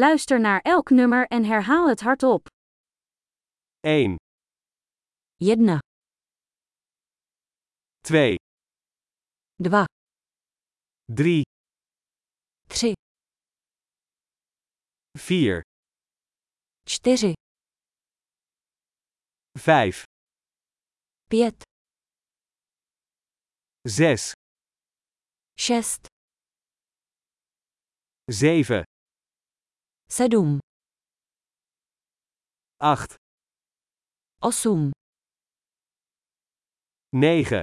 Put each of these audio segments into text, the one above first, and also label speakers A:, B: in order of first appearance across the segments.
A: Luister naar elk nummer en herhaal het hardop.
B: 1,
A: 1,
B: 2,
A: 2,
B: 3,
A: 3,
B: 4,
A: 4,
B: 5,
A: 5,
B: 6,
A: 6,
B: 7,
A: 7,
B: 8,
A: 8,
B: 9,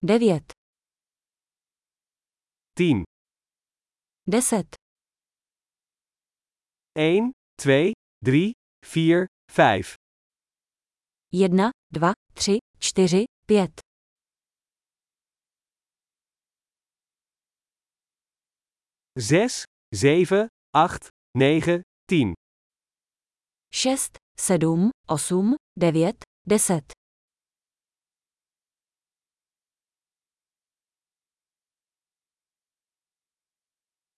A: 9,
B: 10,
A: 10,
B: 1, 2, 3, 4, 5,
A: 1, 2, 3, 4, 5,
B: 6, 7, 8, 9, 10,
A: 6, 7, 8, 9, 10,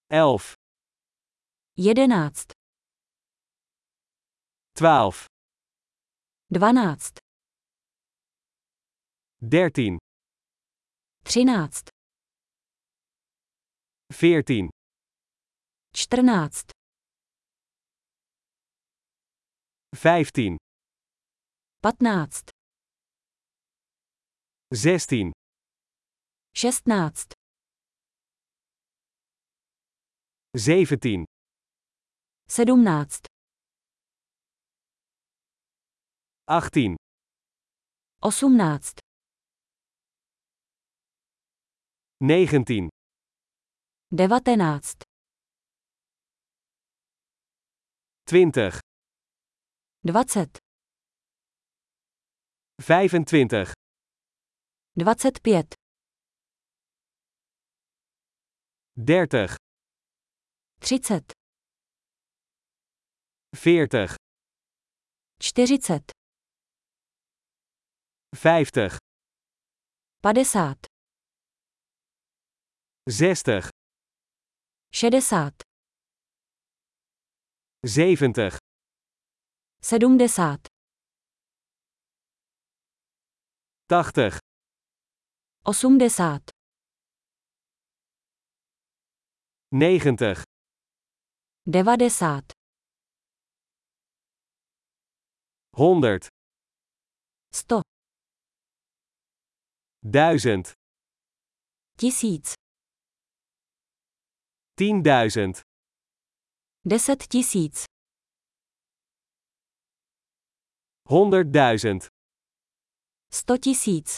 B: 11,
A: 11,
B: 12,
A: 12,
B: 13,
A: 13,
B: 14,
A: 14,
B: 15,
A: 15,
B: 16,
A: 16,
B: 17,
A: 17,
B: 18,
A: 18,
B: 19,
A: 19,
B: 20,
A: 20,
B: 25,
A: 25,
B: 30,
A: 30,
B: 40,
A: 40, 50,
B: 50, 60,
A: 60,
B: 70,
A: 70,
B: 80,
A: 80,
B: 90,
A: 90, 100,
B: 100, 1000,
A: 1000,
B: 10.000,
A: 10 tisíc,
B: 100.000,
A: 100 tisíc,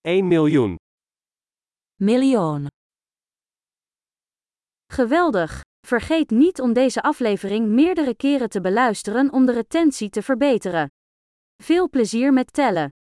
B: 1 miljoen.
A: miljoen. Geweldig! Vergeet niet om deze aflevering meerdere keren te beluisteren om de retentie te verbeteren. Veel plezier met tellen!